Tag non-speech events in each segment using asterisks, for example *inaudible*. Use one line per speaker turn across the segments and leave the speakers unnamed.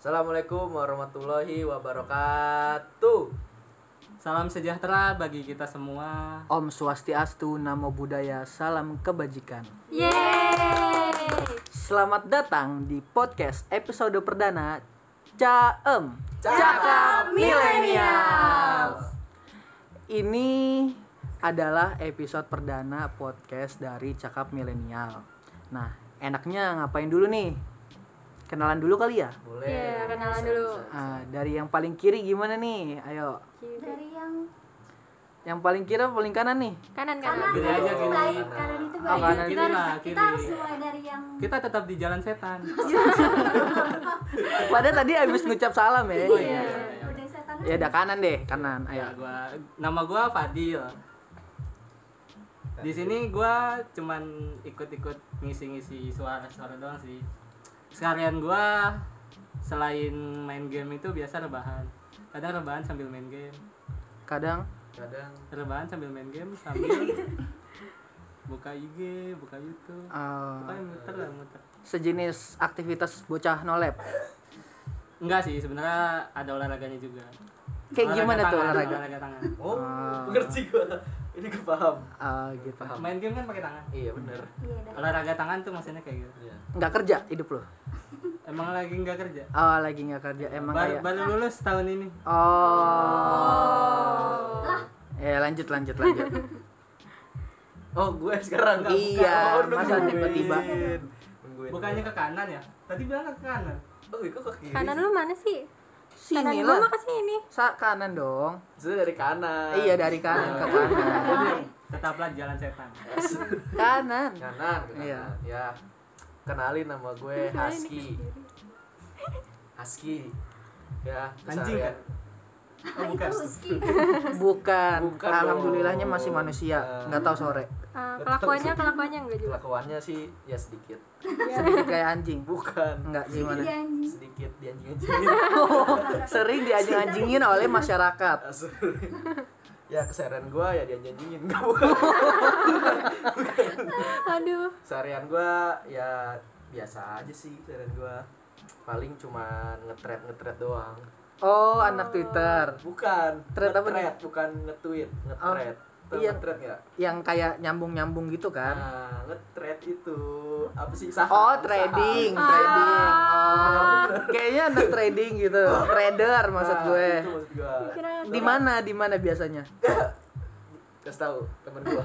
Assalamualaikum warahmatullahi wabarakatuh.
Salam sejahtera bagi kita semua.
Om Swastiastu, Namo Buddhaya, Salam Kebajikan.
Yeay.
Selamat datang di podcast episode perdana Caem
Cakap Milenial.
Ini adalah episode perdana podcast dari Cakap Milenial. Nah, enaknya ngapain dulu nih? Kenalan dulu kali ya?
Boleh.
Iya, kenalan
Bisa,
dulu.
bisa, bisa.
Ah, dari yang paling kiri gimana nih? Ayo,
Dari yang
yang paling kiri apa paling kanan nih?
kanan
kanan
kanan.
Gini
itu
aja, gini.
baik kanan itu
Oh,
baik
kanan.
kita harus
Kiri lah,
kita
kiri.
harus mulai dari yang
Gitu
Kita tetap di jalan setan.
Padahal tadi habis ngucap salam ya.
iya.
udah setan
Ya udah kanan deh, kanan. Ayo.
Ya, gua nama gua Fadil. Di sini gua cuman ikut-ikut ngisi-ngisi suara-suara doang sih. Sekalian gua selain main game itu biasa rebahan. Kadang rebahan sambil main game,
Kadang
Kadang
rebahan sambil main game sambil buka IG, buka YouTube.
eh,
Pokoknya muter lah, muter.
sejenis aktivitas bocah nolep.
Enggak sih, sebenarnya ada olahraganya juga.
Kayak gimana tuh
tangan,
olahraga?
Olahraga tangan.
oh,
Ah.
ngerti gua. Ini kepaham.
Eh, gitu.
Paham.
Main game kan pakai tangan.
Iya, bener
iya dah
Olahraga tangan tuh maksudnya kayak gitu.
Iya.
Nggak kerja hidup lo.
Emang lagi nggak kerja?
Oh, lagi nggak kerja emang
baru,
kayak.
baru lulus tahun ini.
Oh.
lah
Ya lanjut lanjut lanjut.
*laughs* Oh, gue sekarang nggak
Iya,
buka. Oh,
masa
nungguin.
tiba-tiba.
Nungguin.
Bukannya ke kanan ya? Tadi bilang ke kanan.
Oh, itu ke kiri.
Kanan lu mana sih? Kanan
Sini
gua
lah.
mah ke sini.
Sa kanan dong.
Sudah dari kanan.
Iya dari kanan ke kanan.
Tetaplah jalan setan.
Kanan.
Kanan, ke kanan.
Iya.
Ya. Kenalin nama gue Husky. Husky. Ya,
Anjing
keseharian-
kan? Oh,
itu
bukan.
husky
Bukan.
Bukan
Alhamdulillahnya
dong.
masih manusia. Nggak tahu sore.
Ah, kelakuannya kelakuannya enggak juga.
kelakuannya sih ya sedikit
Sedikit kayak anjing.
bukan
Enggak gimana?
Iya, anjing
sedikit *laughs* dianjing-anjingin
Sering dianjing-anjingin oleh masyarakat.
Asli. ya keseharian gua ya dianjing-anjingin Nggak, bukan
Aduh.
*laughs* keseharian gua ya biasa aja sih keseharian gua paling cuman ngetret ngetret doang
Oh, anak Twitter.
bukan
Thread apa
nge-thread, bukan nge-tweet nge-thread Tau
iya.
nge-thread nggak
Yang kayak nyambung-nyambung gitu kan.
Ah.
nah nge-thread itu apa sih Nah, saham
Oh,
saham.
trading,
Ah.
trading. Oh. Kayaknya
*laughs*
anak trading gitu. Trader
Nah,
Ah,
maksud gue.
itu maksud gua
Kira
Di mana? Di mana biasanya?
kasih tahu temen gua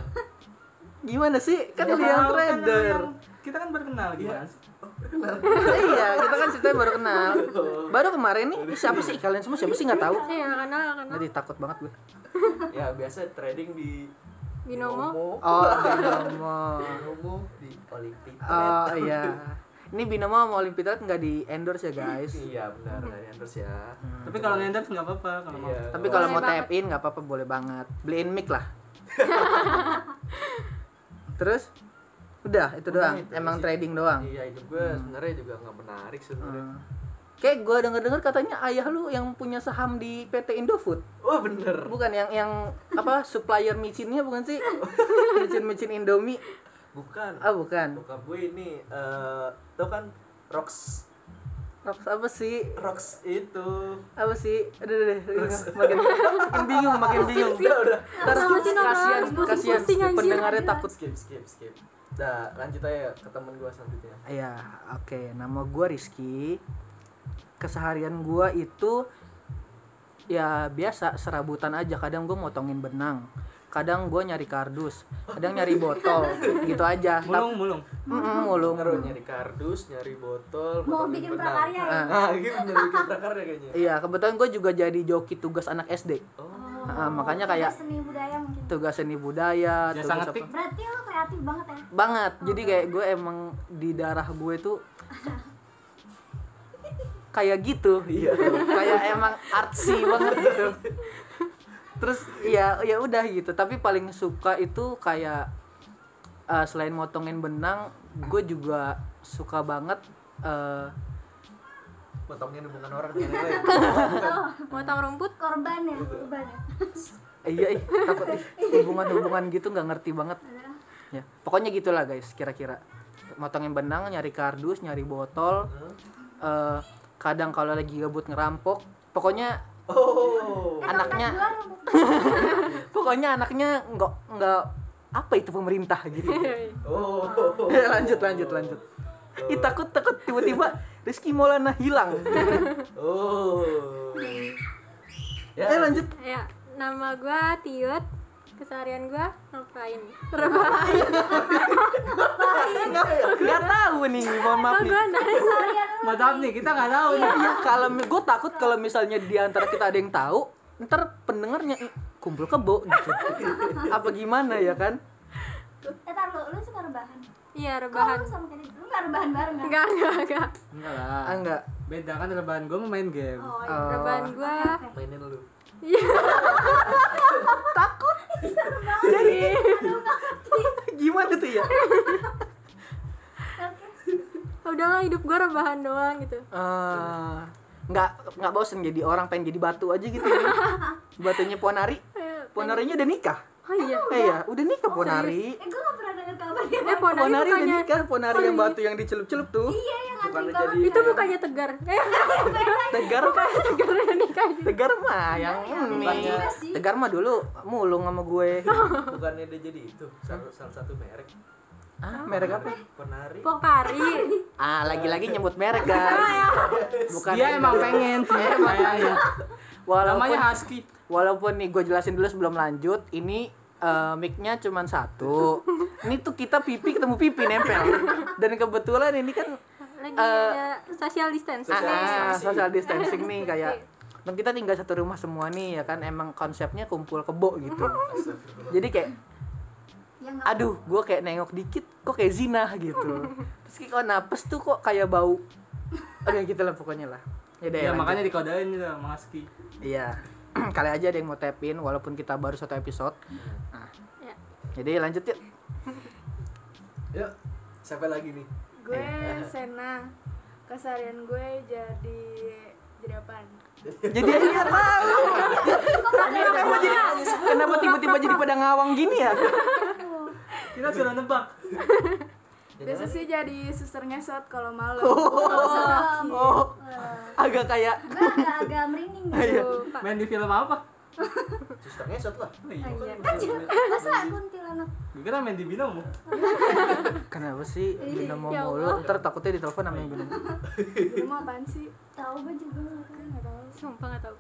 Gimana sih? Kan
Ya,
dia
tahu
yang
kan lu
*laughs* trader.
yang- Kita kan berkenal gimana sih?
iya, kita kan ceritanya baru kenal. Baru kemarin nih siapa sih kalian semua siapa sih nggak tahu?
Iya, karena karena
Jadi takut banget gue.
ya biasa trading di
binomo.
Oh, Binomo.
*laughs*
Binomo di Olympic
Oh iya. Ini Binomo sama Olimpiade nggak di endorse ya guys.
iya benar
Hmm.
dari endorse ya
Tapi kalau ngendorse nggak apa-apa kalau mau.
Iya.
Tapi kalau mau
Boleh banget.
tap in nggak apa-apa boleh banget. Beliin mic
*laughs*
lah. Terus udah itu
Udah,
doang.
itu
Emang
sih.
trading doang.
iya hidup gue sebenarnya juga nggak menarik sebenarnya
Hmm. Kayak gue denger-denger katanya ayah lu yang punya saham di PT Indofood.
oh bener
Bukan yang yang apa supplier micinnya bukan
*laughs*
sih? Micin-micin Indomie.
bukan
Ah bukan.
bokap gue ini eh tau kan rocks
Rox apa sih?
rocks itu
Apa sih? Aduh, aduh, aduh. Iya, makin makin bingung, makin bingung.
udah udah
Ntar
Apa sih, Nora?
kasihan
Pusing-pusing,
kasihan
anjir.
pendengarnya
Iya,
takut
skip skip skip nah lanjut aja ke temen gue selanjutnya
Ya, oke. Nama gua Rizky. Keseharian gua itu ya biasa serabutan aja. Kadang gua motongin benang, kadang gua nyari kardus, kadang nyari botol, gitu aja. Tapi
Mulung, mulung.
Mm-mm, mulung.
Ngeru nyari kardus, nyari botol,
mau
botolin
bikin
benang.
prakarya ya
Ah,
Nah, gitu nyari bikin prakarya kayaknya.
Iya, kebetulan gue juga jadi joki tugas anak SD.
Oh,
Ah, makanya kayak
Tugas seni budaya mungkin
tugas seni budaya,
Jasa
tugas
ngetik.
berarti lo kreatif banget ya
banget. Jadi kayak gue emang di darah gue tuh kayak gitu,
Iya.
gitu. kayak emang artsy banget gitu. Terus ya ya udah gitu. Tapi paling suka itu kayak eh, selain motongin benang, gue juga suka banget eh,
potongin hubungan orang yang lain.
Motong Oh, rumput.
korban ya korban ya
iya ih, takut ih. hubungan-hubungan gitu nggak ngerti banget ya pokoknya gitulah guys kira-kira motongin benang nyari kardus nyari botol eh, kadang kalau lagi gabut ngerampok pokoknya
Oh.
Eh,
Anaknya. *laughs*
tongkat gua rumput gua.
pokoknya anaknya nggak nggak apa itu pemerintah gitu *laughs*
Oh.
Eh,
lanjut lanjut lanjut Ih, takut takut tiba-tiba Rizky Maulana hilang
Oh. Ya,
eh lanjut
*laughs* ya nama gua Tiut keseharian gua ngapain rebahan
nggak nggak tahu nih mohon maaf
oh,
nih
gua nanya sorry
Mohon maaf nih, kita nggak tahu nih.
Iya, kalau gue takut kalau misalnya di antara kita ada yang tahu, ntar pendengarnya "Ih, kumpul kebo *laughs* gitu. Apa gimana ya kan?
Eh, tar lu, lu suka rebahan.
iya
Kok
rebahan
lu sama kayak lu nggak rebahan bareng kan?
enggak enggak enggak
Enggak lah.
Ah, enggak.
Beda kan rebahan gue mau main game.
Oh, iya.
Oh.
rebahan gua
mainin lu.
iya
*laughs* Gimana tuh ya?
Oke.
Ah, udahlah hidup gua rebahan doang gitu
Eh, nggak nggak bosen jadi orang pengen jadi batu aja gitu ya. Batunya Ponari.
Eh,
Ponarinya udah nikah.
oh iya
Eh ya, udah nikah Ponari.
Eh, gua nggak pernah dengar kabar dia.
eh ponari
Ponari udah
bukannya
nikah, Ponari yang
Oh, iya.
batu yang dicelup-celup tuh.
Iya, yang antri
Bukannya
Oh,
banget.
jadi-
itu bukannya tegar eh *laughs*
Tegar mah,
tegar udah nikah juga.
Tegar mah yang ini.
Bukannya-
Tegar mah dulu mulung sama gue.
Bukannya dia jadi itu salah, salah satu merek.
Ah, merek apa?
Penari.
pokari
Ah, lagi-lagi nyebut merek
Ah, ya.
guys. Bukan
Dia
Ender.
emang pengen sih kayaknya.
Walaupun
Namanya Husky.
walaupun nih gue jelasin dulu sebelum lanjut, ini eh, mic-nya cuma satu. ini tuh kita pipi ketemu pipi nempel. Dan kebetulan ini kan
lagi
Eh,
ada social distance
Social
ah,
distancing.
social distancing nih
*laughs*
kayak dan kita tinggal satu rumah semua nih ya kan emang konsepnya kumpul kebo gitu. Jadi kayak
Ya, nggak
aduh gue kayak nengok dikit kok kayak zina gitu. Terus kayak kok napes tuh kok kayak bau. Oke gitu lah pokoknya lah. Yaudah,
Ya,
lanjut.
makanya dikodain gitu sama Husky.
Iya. *clears throat* Kali aja ada yang mau tapin walaupun kita baru satu episode. Nah.
Ya.
Jadi lanjut yuk.
Yuk. Siapa lagi nih?
gue Sena keseharian gue jadi jadi apaan
*laughs* Jadi aja nggak tahu. Kenapa jadi kenapa tiba-tiba jadi pada ngawang gini ya?
Kita sudah nebak.
biasa sih jadi suster ngesot kalau malam
serem.
Oh,
Eh,
agak kayak
Gua agak-agak merinding
Iya.
gitu.
Tuh, Pak.
Main di film apa?
Suster ngesot lah.
Oh, iya.
Iya.
Masa kuntilanak?
Gue kira main di binomo.
kenapa sih
Ih,
Binomo
ya
mulu? Ntar takutnya ditelepon sama yang Binomo.
jadi mau apaan sih
Tahu gua juga nggak tahu. ya,
nggak tahu
sumpah nggak tahu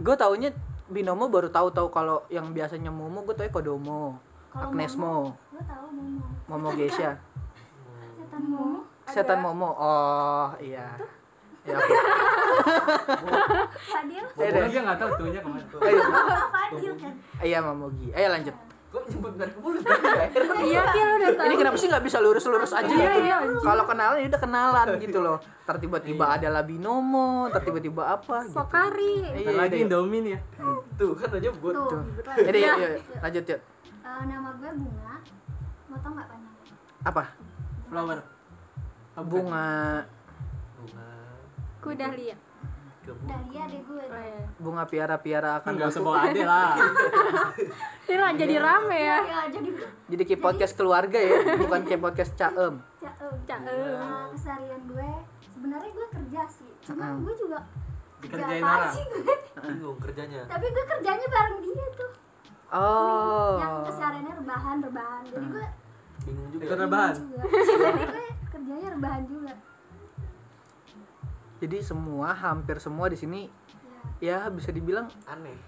Gue taunya Binomo baru tahu-tahu kalau yang biasanya Momo gue taunya Kodomo,
Kalau
Agnesmo,
Gua tahu Momo.
Momo Geisha,
Setan Momo.
Setan Momo. Oh, iya. Ya, oke.
Fadil.
Beda.
Pokoknya dia nggak tahu tuhnya kemana.
Ayo.
Fadil kan.
Iya, Momogi. Ayo lanjut.
Kok nyebut merek mulu tadi?
iya kia lu udah tahu
Ini kenapa sih nggak bisa lurus-lurus aja
Iya,
gitu?
iya, anjing.
Kalau kenalan ya udah kenalan gitu loh. Ntar tiba-tiba ada labinomo, ntar tiba-tiba apa gitu.
pokari
Bentar
Iya,
lagi
iya.
Indomie nih ya.
Tuh kan aja buat
Tuh.
Tuh.
ribet lagi.
Jadi yuk, yuk,
Iya.
lanjut yuk.
Eh, nama gue Bunga. Mau tau nggak panjang?
Apa?
Flower. Oh, bukan.
Bunga
bunga
kuda liat
kebun.
Dahlia deh gue.
Oh, iya.
bunga piara-piara akan
Enggak
masuk.
sebawa ade lah.
Ini lah jadi rame ya.
Ya jadi
Jadi kayak podcast keluarga ya, bukan kayak podcast caem.
Ca- eh,
Ca-
eh, keseharian gue sebenarnya gue kerja sih. Cuma
Mm-mm.
gue juga kerja
Dikerjain
apaan
orang.
sih gue?
Nah.
Bingung kerjanya.
Tapi gue kerjanya bareng dia tuh.
Oh.
Yang
ya.
kesehariannya rebahan rebahan. Jadi gue
Bingung
Ikut
juga.
rebahan.
juga. Jadi gue kerjanya rebahan juga.
Jadi semua hampir semua di sini
Ya.
Iya.
ya bisa dibilang
Aneh.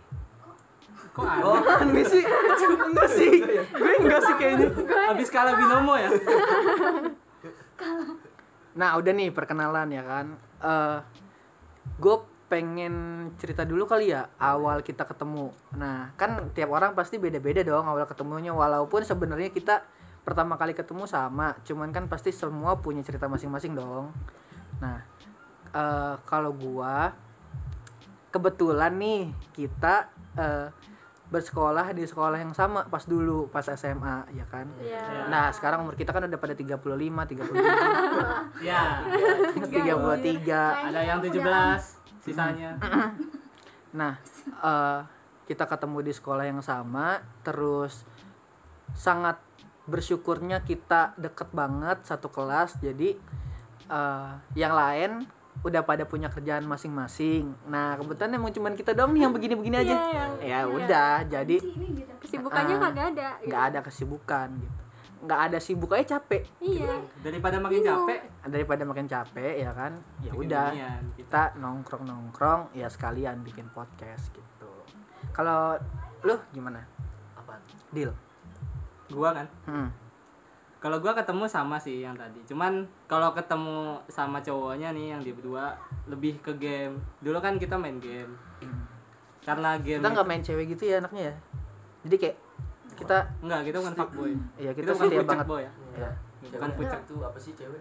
Kok ada?
oh aneh sih enggak sih gue enggak sih kayaknya
Abis kalah binomo ya?
Nah udah nih perkenalan ya kan. eh gue pengen cerita dulu kali ya awal kita ketemu. Nah kan tiap orang pasti beda-beda dong awal ketemunya. Walaupun sebenarnya kita pertama kali ketemu sama, cuman kan pasti semua punya cerita masing-masing dong. Nah eh kalau gua kebetulan nih kita eh, bersekolah di sekolah yang sama pas dulu pas SMA ya kan.
Iya.
Nah sekarang umur kita kan udah pada 35, 37
*laughs*
Ya.
tiga buat tiga
Ada yang 17 sisanya.
nah eh, kita ketemu di sekolah yang sama terus sangat bersyukurnya kita deket banget satu kelas jadi eh, yang lain udah pada punya kerjaan masing-masing. Nah, kebetulan emang cuman kita doang nih yang begini-begini aja.
Iya, yang-
ya
iya.
udah, jadi
Sih, ini gitu.
Ah.
Kesibukannya kagak ada. gitu.
nggak ada kesibukan gitu. Nggak ada sibuk aja capek.
Iya.
daripada makin
Bingung.
capek
Daripada makin capek ya kan. Ya
bikin
udah,
ginian kita
kita nongkrong-nongkrong ya sekalian bikin podcast gitu. Kalau lu gimana?
Apaan?
Deal.
gua kan
Hmm.
kalau gua ketemu sama sih yang tadi cuman kalau ketemu sama cowoknya nih yang di berdua lebih ke game dulu kan kita main game karena game
Kita nggak main cewek gitu ya anaknya ya. Jadi kayak kita
enggak kita bukan fuckboy
ya
kita
kita
bukan
setia
pucet
banget.
boy ya
Ya.
bukan pucet
itu apa sih Nah, cewek?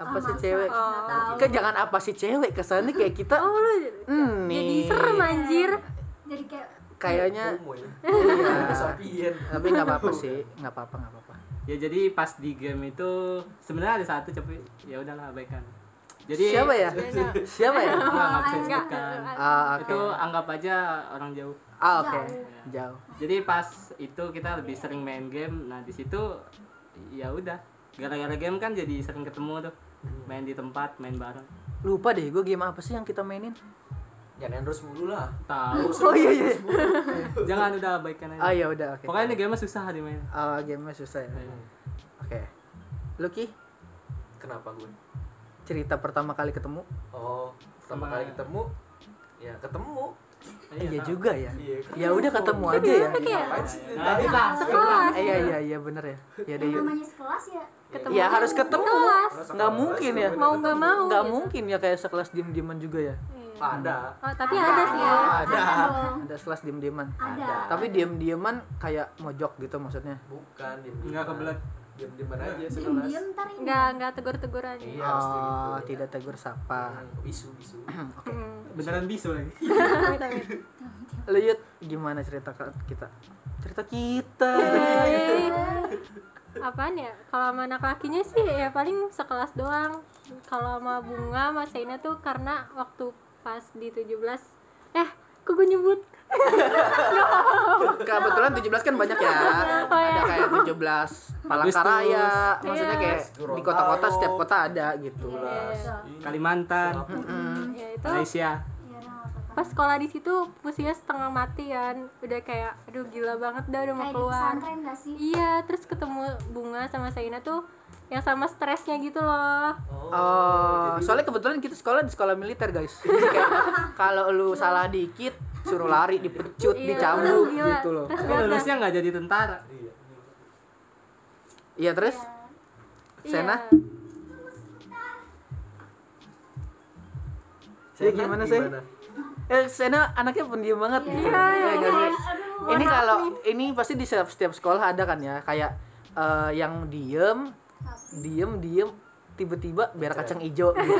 Apa
Ah,
sih
masa?
cewek?
Nggak tahu.
Kan jangan apa sih cewek kesannya kayak kita
Oh lu
Hmm,
jadi
nih.
serem anjir.
Jadi kayak
kayaknya
Homo ya.
*laughs* Iya.
Sapien.
tapi nggak apa-apa sih nggak apa-apa nggak apa-apa
ya jadi pas di game itu sebenarnya ada satu tapi ya udahlah abaikan jadi
siapa ya siapa *laughs* ya
Enggak, nggak bisa
Enggak,
disebutkan.
ah oke
itu anggap aja orang jauh Ya.
ah oke
Jauh.
jauh
jadi pas itu kita lebih sering main game nah di situ ya udah gara-gara game kan jadi sering ketemu tuh main di tempat main bareng
lupa deh gue game apa sih yang kita mainin
Jangan terus Ya, mulu lah.
tahu *laughs*
oh iya iya
jangan udah abaikan
ah
aja
ya udah oke
pokoknya ini game susah dimain
ah gamenya susah ya oke Lucky
Kenapa gue?
cerita pertama kali ketemu
Oh, pertama
Sama-
kali ketemu ya ketemu.
iya juga ya
Iya.
ya udah ketemu
Tapi
aja ya
apa kayak
Ngapain sih?
Nah,
Tadi
kita
sekelas.
iya iya iya bener ya ya deh
yang
yuk
namanya sekelas ya
Ketemu
ya harus ketemu
Kelas.
nggak mungkin ya
Mau nggak mau.
nggak
gitu.
mungkin ya kayak sekelas diem dieman juga ya
Iya.
Ada.
Oh, tapi ada sih
Iya.
ya.
ada dong
ada sekelas diem dieman
ada
tapi diem dieman kayak mojok gitu maksudnya
Bukan diem
nggak kebelet
Diam di mana aja
diem
Ya, sekelas.
diem ntar ini
Enggak, enggak tegur-teguran.
Iya, harus kayak
Oh,
gitu.
tidak tegur sapa.
Hmm, Bisu, bisu.
Iya,
Hmm.
beneran bisu lagi
Amit, amit.
Lu Yud, gimana cerita ke- kita? Cerita kita.
Eh, Apaan ya? Kalau sama anak lakinya sih ya paling sekelas doang. Kalau sama Bunga sama Saina tuh karena waktu pas di 17 eh kok gue nyebut
Kebetulan 17 kan banyak ya.
Oh, ya.
Ada kayak 17 Palangkaraya. Maksudnya
Iya.
kayak di kota-kota setiap kota ada gitu.
Tulas.
Iya.
Kalimantan
Mm-mm.
ya itu
Malaysia
Iya, udah nggak apa-apa.
pas sekolah di situ pusingnya setengah mati kan udah kayak aduh gila banget dah udah mau
kayak di
keluar
pesantren nggak sih
iya terus ketemu bunga sama Saina tuh yang sama stresnya gitu loh
Oh,
jadi- iya.
soalnya kebetulan kita sekolah di sekolah militer, guys. Jadi kayak kalau lu salah dikit suruh lari dipecut,
Iya,
dicambuk
aduh, gila.
gitu loh.
Terus
Kalau
udah-
lulusnya nggak jadi tentara
Iya.
Iya, terus
iya.
Sena? Dia
Sena,
gimana sih? Eh, Sena anaknya pendiam banget gitu.
Iya,
Iya,
iya,
nggak sih?
iya.
ini kalau ini pasti di setiap, setiap sekolah ada kan ya kayak eh, yang diem diem diem tiba-tiba biar kacang hijau
*laughs*
gitu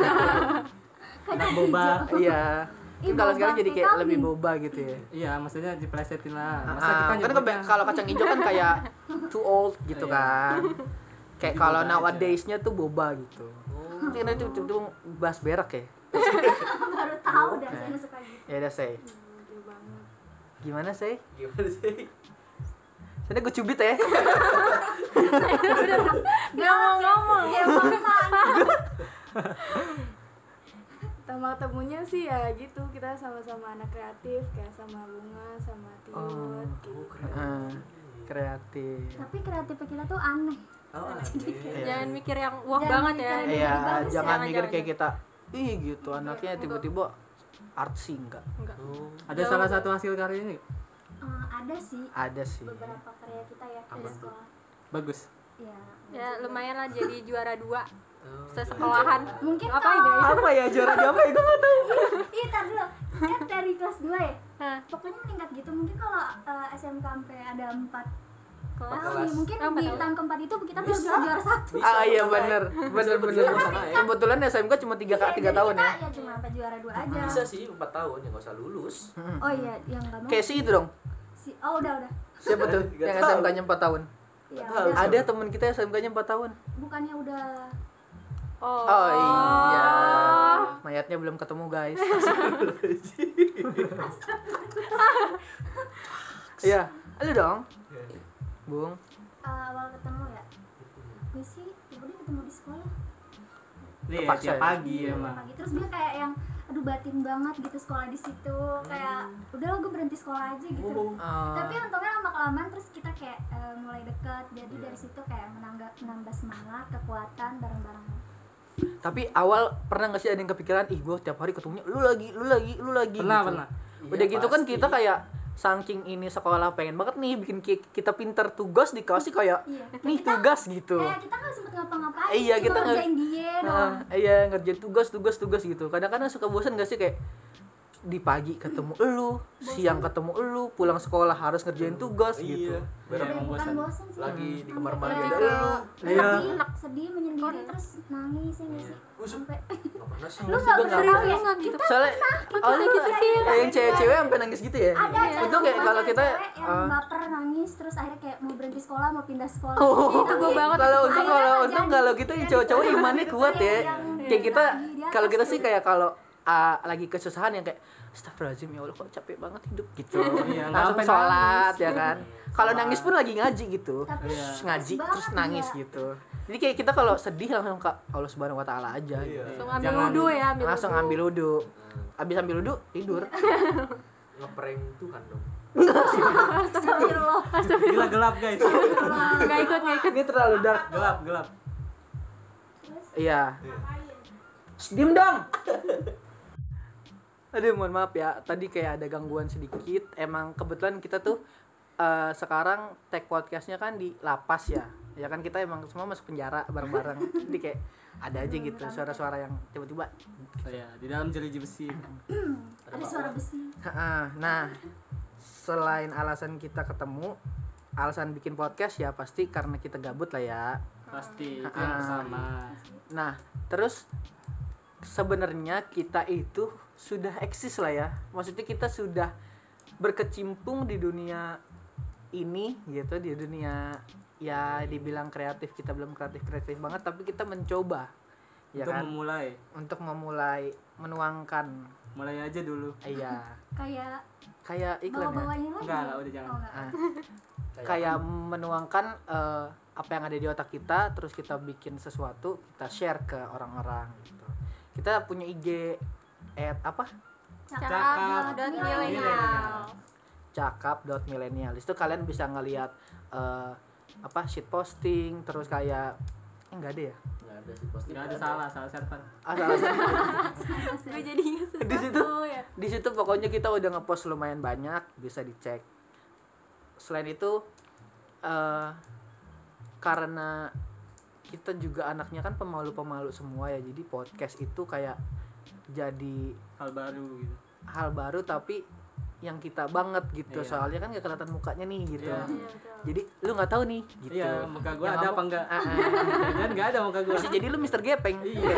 anak boba
iya Mungkin
Ih,
kalau
boba
sekarang jadi kayak
vitamin.
lebih boba gitu ya
iya maksudnya diplesetin lah masa
Ah,
kita
kan
nyebutnya
kebe- kalau kacang hijau kan kayak *laughs* too old gitu
Iya.
kan kayak
Jadi
kalau
boba aja.
nowadays-nya tuh boba gitu mungkin itu tiba-tiba bahas berak ya
baru tahu dan saya suka gitu
ya udah say gimana say
Gimana sih?
saya gue cubit ya
nggak mau ngomong
ya makan
Sama ketemunya sih ya gitu kita sama-sama anak kreatif kayak sama bunga sama tiut
Oh.
gitu.
Ah, kreatif
tapi kreatifnya kita tuh aneh
Oh, aneh.
jangan mikir yang wah
Jangan
banget
mikir
ya
yang-
Iya,
Bagus ya.
jangan
Jangan,
mikir
jangan,
kayak kita ih gitu
Iya,
anaknya
enggak.
tiba-tiba artsy enggak.
Enggak.
Oh,
ada salah satu hasil karya ini
Eh, ada sih
Ada sih.
beberapa karya kita ya
Apa
di
tuh?
sekolah
bagus
ya,
ya lumayan lah jadi juara dua
oh.
sesekolahan
mungkin
apa
tahu.
ini
Apa ya juara di apa ya? Gua nggak tahu.
Ih, tar dulu. Kan dari kelas 2 ya?
Hah,
Pokoknya meningkat gitu. Mungkin kalau eh, SMK sampai ada 4
kelas
tahun ya, mungkin
Empat
di
tahun.
tahun keempat itu kita baru bisa juara satu.
Bisa,
Ah iya
bisa.
*laughs*
benar. Benar benar.
Bisa, ya. bisa.
Kebetulan SMK cuma 3
Iya,
tiga
jadi
tahun
kita
ya.
Ya cuma sampai juara 2 aja.
Bisa sih 4 tahun ya nggak usah lulus.
Oh iya, yang enggak mau.
Kayak si itu dong.
Si oh udah udah.
Siapa
*laughs*
tuh?
Tiga
Yang
tahun.
SMK-nya 4 tahun.
Iya,
Tahu.
udah.
Ada teman kita SMK-nya 4 tahun.
Bukannya udah
oh,
Oh iya. Mayatnya belum ketemu, guys. Iya. Lu dong,
Iya.
Bung.
eh, awal ketemu ya? Gue sih, ya udah ketemu di sekolah.
Iya,
Terpaksa
tiap
ya?
pagi
Iya,
emang.
pagi. terus dia kayak yang aduh batin banget gitu sekolah di situ kayak udah lah gue berhenti sekolah aja gitu
Oh.
Eh,
tapi untungnya lama kelamaan terus kita kayak eh, mulai dekat jadi
Iya.
dari situ kayak menambah menambah semangat kekuatan bareng bareng
tapi awal pernah nggak sih ada yang kepikiran ih gue tiap hari ketemunya lu lagi lu lagi lu lagi
Pernah,
gitu.
pernah.
Iya,
udah gitu kan kita kayak saking ini sekolah pengen banget nih bikin ki- kita pinter tugas dikasih kayak
iya Kayak
nih
kita
tugas gitu
kayak kita nggak sempet ngapa-ngapain
Iya,
cuma
kita nggak-
ngerjain dia doang
Nah, iya ngerjain tugas tugas tugas gitu kadang-kadang suka bosan gak sih kayak di pagi ketemu elu siang ketemu elu pulang sekolah harus ngerjain tugas gitu
iya.
Iya,
Bareng
Udah
emang
bukan
bosan.
bosan sih
lagi di kamar
Sampai
mandi
Iya.
ada
kayak
lu.
Iya.
sedih sedih menyendiri
Kon-
terus nangis ya nggak sih
Iya. Usum.
sampai
Nggak pernah sih.
lu
Juga
nggak pernah
nggak
tahu ya
nggak gitu
soalnya oh,
kita gitu sih.
kayak yang cewek-cewek sampai nangis gitu ya
ada
Iya.
aja
Itu kayak
teman
kalau kita,
cewek yang
ah.
baper nangis terus akhirnya kayak mau berhenti sekolah mau pindah sekolah
Oh,
Itu
*laughs*
gua banget.
Kalau untung
Akhirnya
kalau
nggak
untung
jadi. Iya,
kalau kita cowok-cowok imannya kuat ya.
Yang-
Kayak kita
yang di atas
kalau kita sih
tuh.
kayak kalau ah, lagi kesusahan yang kayak Astagfirullahaladzim ya Allah kok capek banget hidup
*laughs*
gitu
Iya, nggak
Langsung
sampai
sholat ya
Iya.
kan Kalau
Sholat.
nangis pun lagi ngaji gitu
tapi
Iya.
Terus ngaji
Pas
terus
banget iya.
nangis
dia.
gitu Jadi kayak kita kalau sedih langsung ke Allah Subhanahu wa taala aja gitu.
Iya.
Iya.
langsung ambil
Jangan.
wudhu ya ambil
Langsung
wudhu.
ambil wudhu Abis ambil wudhu tidur
Ngeprank Tuhan dong.
Astagfirullah.
Gila gelap guys.
nggak ikut nggak ikut
*laughs* Ini terlalu dark
Gelap, gelap.
Terus
Iya. Shh, Diem dong. *laughs* Aduh, mohon maaf ya. Tadi kayak ada gangguan sedikit. Emang kebetulan kita tuh eh, sekarang tag podcastnya kan di lapas ya. Ya kan kita emang semua masuk penjara bareng-bareng. Jadi kayak ada aja gitu suara-suara yang tiba-tiba.
Oh, iya, di dalam jeruji besi.
ada suara besi.
Ha-ha. Nah, selain alasan kita ketemu, alasan bikin podcast ya pasti karena kita gabut lah ya.
Pasti itu yang sama.
Nah, terus sebenarnya kita itu sudah eksis lah ya. Maksudnya kita sudah berkecimpung di dunia ini gitu, di dunia ya dibilang kreatif kita belum kreatif kreatif banget, tapi kita mencoba ya
Untuk
kan
memulai,
untuk memulai menuangkan
mulai aja dulu.
iya
Kayak
kayak iklan ya
bawa-bawanya lagi.
Enggak lah, udah jangan.
Oh, enggak.
Ah. kayak menuangkan eh, apa yang ada di otak kita terus kita bikin sesuatu kita share ke orang-orang gitu kita punya IG at apa
Cakap.
Cakap.
dan
Milenial.
milenial
cakap.millennialis itu kalian bisa ngelihat eh, apa shit posting terus kayak eh, enggak ada ya
Enggak ada sih pasti.
Enggak ada salah, salah server.
Ah, salah.
gue jadi ingat
Di situ.
sesuatu ya
di situ pokoknya kita udah ngepost lumayan banyak bisa dicek selain itu eh karena kita juga anaknya kan pemalu-pemalu semua ya jadi podcast itu kayak jadi
Hal baru gitu.
hal baru tapi yang kita banget gitu
Iya.
soalnya kan gak kelihatan mukanya nih gitu
Iya.
Iya, betul.
jadi lu nggak tahu nih gitu
Iya, muka
Yang
gua ada
ngamuk-
apa enggak?
Ah, ah.
Jangan enggak ada muka gua.
bisa jadi lu Mister Gepeng
Iya.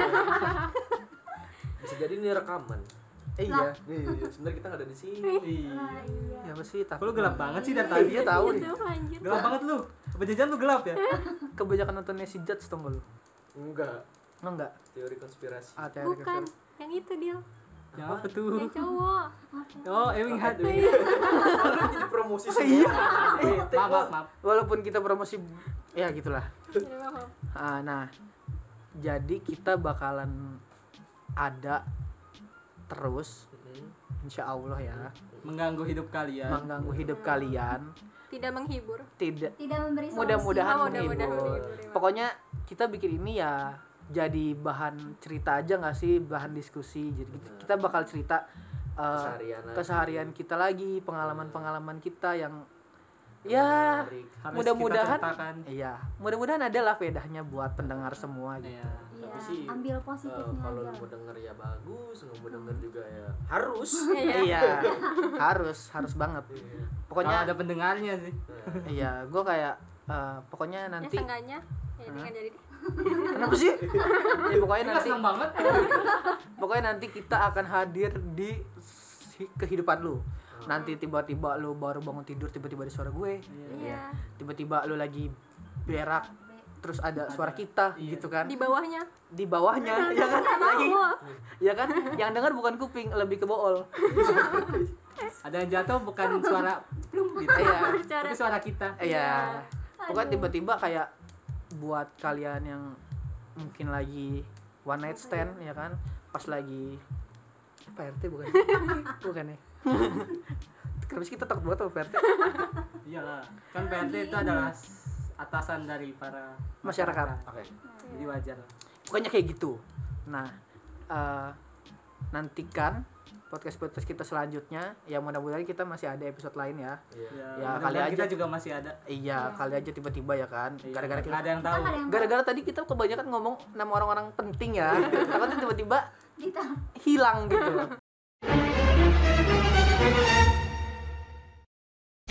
Bisa jadi ini rekaman.
Eh,
iya
Iya, iya, iya. Sebenarnya kita nggak ada di sini.
Iya.
Nah, iya.
ya pasti
Kok Lu gelap Iya, banget sih dari tadi.
dia tahu nih
Aduh, anjir
Gelap banget lu. Apa jajan lu gelap ya?
kebanyakan nontonnya si Judge tau nggak lu
Enggak.
Oh, enggak
Teori konspirasi.
Ah, teori
bukan
konspirasi.
yang itu dia
Ya apa
yang
tuh?
cowok
Oh, Ewing Hat.
Lu jadi promosi
Oh, iya.
semua.
Eh, Maaf, maaf, maaf.
walaupun kita promosi ya gitulah
Aduh, maaf.
Ah, nah jadi kita bakalan ada terus
Mm-mm.
insya Allah ya
Mengganggu hidup kalian.
mengganggu hidup kalian
tidak menghibur
tidak
Tidak memberi solusi. Iya,
mudah-mudahan
Oh, mudah-mudahan
menghibur
menghibur, iya.
pokoknya kita bikin ini ya jadi bahan cerita aja nggak sih bahan diskusi jadi kita- kita bakal cerita eh,
Keseharian. aja.
keseharian kita lagi pengalaman-pengalaman kita yang ya
Menarik.
Harus
Mudah-mudahan-
kita ceritakan.
Iya, mudah-mudahan adalah faedahnya buat pendengar semua gitu.
Iya.
Iya,
Tapi sih,
ambil
Eh,
positifnya
kalau lu
aja.
mau denger ya bagus, nggak mau denger juga ya harus.
Iya, harus, harus banget.
Iya.
Pokoknya
Pokoknya
ada pendengarnya sih.
Nah,
iya, gue kayak eh, pokoknya
ya
nanti
seenggaknya ya
Hah?
dengan jadi deh.
kenapa sih? Ya, pokoknya nanti
seneng banget.
pokoknya nanti kita akan hadir di si- kehidupan lu. Nanti tiba-tiba lu baru bangun tidur tiba-tiba ada suara gue.
iya
Tiba-tiba lu lagi
Kan
berak terus ada suara kita
Iya.
gitu kan
di bawahnya
di bawahnya ya kan lagi
Wah,
ya kan yang dengar bukan kuping lebih ke bool
Ada yang jatuh bukan suara plung gitu.
Iya.
Tapi suara kita.
Iya.
Iya.
Pokoknya
Aduh.
tiba-tiba kayak buat kalian yang mungkin lagi one night stand ya kan pas lagi PRT bukan *laughs* bukan ya kenapa sih kita takut banget sama PRT
iyalah kan PRT itu adalah s- atasan dari para
Masyarakat.
Oke.
jadi wajar
bukannya kayak gitu nah eh, nantikan podcast podcast kita selanjutnya ya mudah-mudahan kita masih ada episode lain ya
Iya.
Ya,
mudah-mudahan
kali aja.
kita juga masih ada
iya
Iya.
kali aja tiba-tiba ya kan
Iya,
gara-gara kita
nggak ada yang
Kita
tahu
nggak ada yang tahu.
gara-gara tadi kita kebanyakan ngomong *laughs* nama orang-orang penting ya takutnya tiba-tiba
Kita
hilang gitu